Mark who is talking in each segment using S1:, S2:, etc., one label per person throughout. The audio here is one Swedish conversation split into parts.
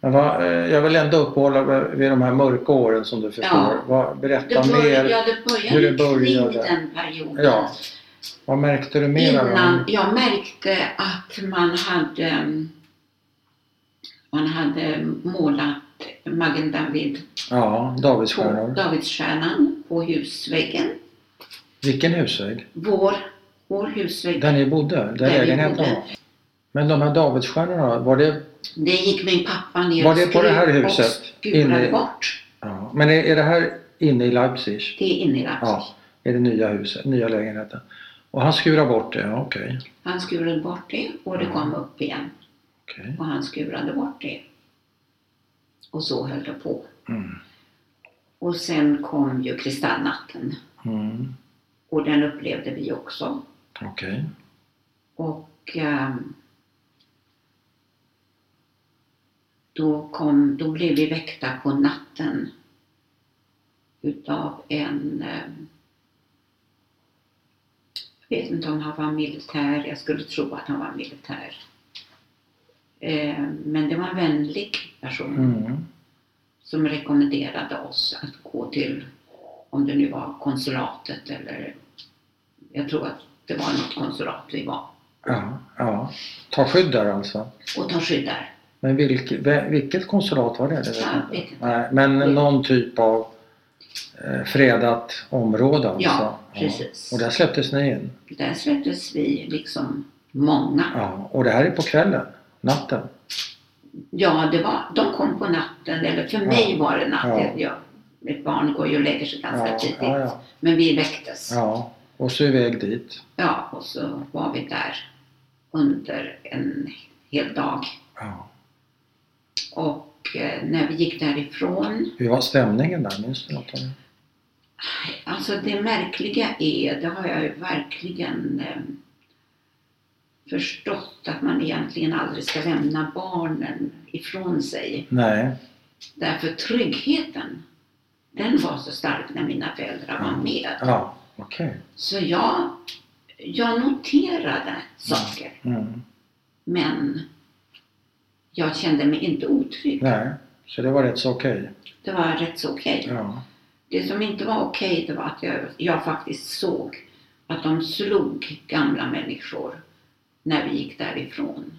S1: Men vad, eh, jag vill ändå uppehålla mig vid de här mörka åren som du förstår.
S2: Ja.
S1: Vad,
S2: Det
S1: berätta
S2: började,
S1: mer.
S2: ja, det
S1: hur
S2: började,
S1: det började.
S2: kring den perioden.
S1: Ja. Vad märkte du mer av
S2: Innan
S1: dem?
S2: jag märkte att man hade, mm, man hade målat Magen David
S1: Ja,
S2: på
S1: Davidsstjärnor.
S2: Davidsstjärnan på husväggen.
S1: Vilken husvägg?
S2: Vår, vår husvägg.
S1: Där ni bodde? Där,
S2: vi
S1: lägenheten
S2: bodde.
S1: var? Men de här Davidsstjärnorna, var det...
S2: Det gick min pappa ner
S1: Var
S2: och
S1: det på det här
S2: skrev
S1: huset?
S2: och skurade
S1: Inne-
S2: bort.
S1: Ja. Men är, är det här inne i Leipzig?
S2: Det är inne i Leipzig.
S1: Ja, i det nya huset, nya lägenheten. Och han skurar bort det, ja okej.
S2: Han skurade bort det och det kom upp igen.
S1: okej.
S2: Och han skurade bort det. Och så höll det på.
S1: Mm.
S2: Och sen kom ju kristallnatten.
S1: Mm.
S2: Och den upplevde vi också.
S1: Okej.
S2: Och ehm, då, kom, då blev vi väckta på natten utav en ehm, jag vet inte om han var militär, jag skulle tro att han var militär. Ehm, Men det var en vänlig person
S1: Mm.
S2: som rekommenderade oss att gå till, om det nu var konsulatet eller jag tror att det var något konsulat vi var,
S1: Ja, ja. Ta skydd där alltså.
S2: och ta skydd där.
S1: Men vilk, vä- vilket konsulat var det? det vet
S2: Ja,
S1: jag
S2: vet
S1: inte.
S2: inte.
S1: Nej, men
S2: Vet-
S1: någon typ av eh, fredat område alltså?
S2: Ja, precis.
S1: Och där släpptes ni in?
S2: Där släpptes vi liksom många.
S1: Ja. Och det här är på kvällen? Natten?
S2: Ja, det var, de kom på natten, eller för
S1: Ja.
S2: mig var det natten.
S1: Ja.
S2: Ja. Ett barn går ju och lägger sig ganska
S1: ja,
S2: tidigt.
S1: ja, ja.
S2: Men vi väcktes. Ja.
S1: ja. Och så iväg dit?
S2: och så var vi där under en hel dag.
S1: Ja.
S2: Och eh, när vi gick därifrån
S1: Hur var stämningen där? Minns du något av det?
S2: Alltså det märkliga är, det har jag ju verkligen eh, förstått, att man egentligen aldrig ska lämna barnen ifrån sig.
S1: Nej.
S2: Därför tryggheten, den var så stark när mina föräldrar var med.
S1: Ja, okej.
S2: Så jag, jag noterade saker,
S1: Mm.
S2: men jag kände mig inte otrygg.
S1: Nej, så det var rätt så okej.
S2: Det var rätt så okej.
S1: Ja.
S2: Det som inte var okej det var att jag, jag faktiskt såg att de slog gamla människor när vi gick därifrån.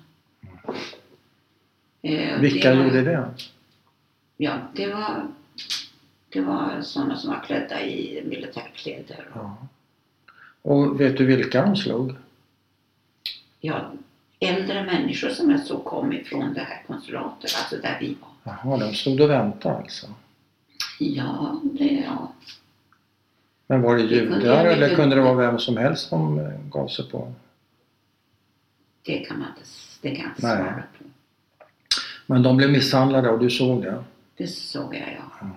S2: Eh,
S1: Vilka
S2: var,
S1: gjorde det?
S2: Ja, det var, det var sådana som var klädda i militärkläder.
S1: Ja. Och vet du vilka de slog?
S2: Ja, äldre människor som jag såg kom ifrån det här konsulatet, alltså där vi var.
S1: Jaha, de stod och väntade alltså.
S2: Ja, det, ja.
S1: Men var det
S2: Det kunde
S1: judar
S2: jag
S1: eller
S2: inte-
S1: kunde det vara vem som helst som eh, gav sig på?
S2: det kan man inte det kan jag inte
S1: Nej.
S2: svara på.
S1: Men de blev misshandlade och du såg det?
S2: Det såg jag ja.
S1: Mm.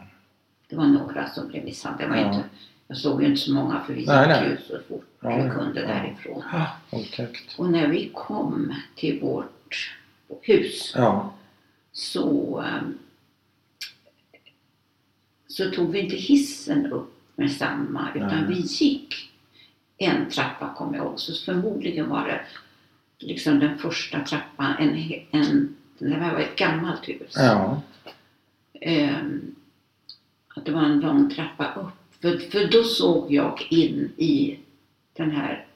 S2: Det var några som blev misshandlade. Det var
S1: Ja.
S2: inte, jag såg ju inte så många för vi gick
S1: Nej, nej.
S2: ju så fort
S1: Ja,
S2: vi
S1: ja.
S2: kunde
S1: Ja.
S2: därifrån.
S1: Otäckt.
S2: Och när vi kom till vårt hus
S1: Ja,
S2: så, ehm, så tog vi inte hissen upp med samma utan
S1: Nej.
S2: vi gick en trappa kommer jag ihåg. Så förmodligen var det liksom den första trappan. En, he- en, det här var ett gammalt hus.
S1: ja,
S2: Ehm, att det var en lång trappa upp. För, för då såg jag in i den här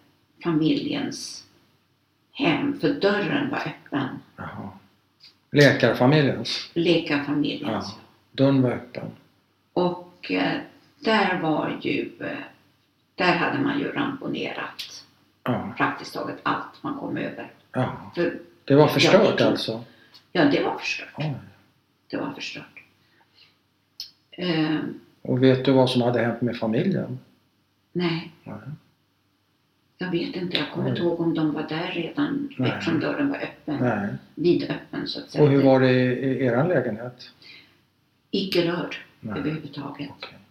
S2: familjens hem, för dörren var öppen.
S1: jaha. Läkarfamiljens
S2: Lekarfamiljens.
S1: Ja. dörr var öppen.
S2: Och eh, där var ju, eh, där hade man ju ramponerat
S1: Ja,
S2: praktiskt taget allt man kom över.
S1: ja.
S2: För,
S1: Det var
S2: Ja,
S1: förstört
S2: det-
S1: alltså?
S2: ja, det var förstört.
S1: Oj.
S2: Det var förstört. Ehm,
S1: Och vet du vad som hade hänt med familjen?
S2: Nej.
S1: Nej.
S2: Jag vet inte, jag kommer
S1: Nej.
S2: inte ihåg om de var där redan
S1: Nej.
S2: eftersom dörren var öppen.
S1: Nej.
S2: Vidöppen så att säga.
S1: Och hur var det i, i er lägenhet?
S2: Icke rörd
S1: Nej.
S2: överhuvudtaget.
S1: Okej.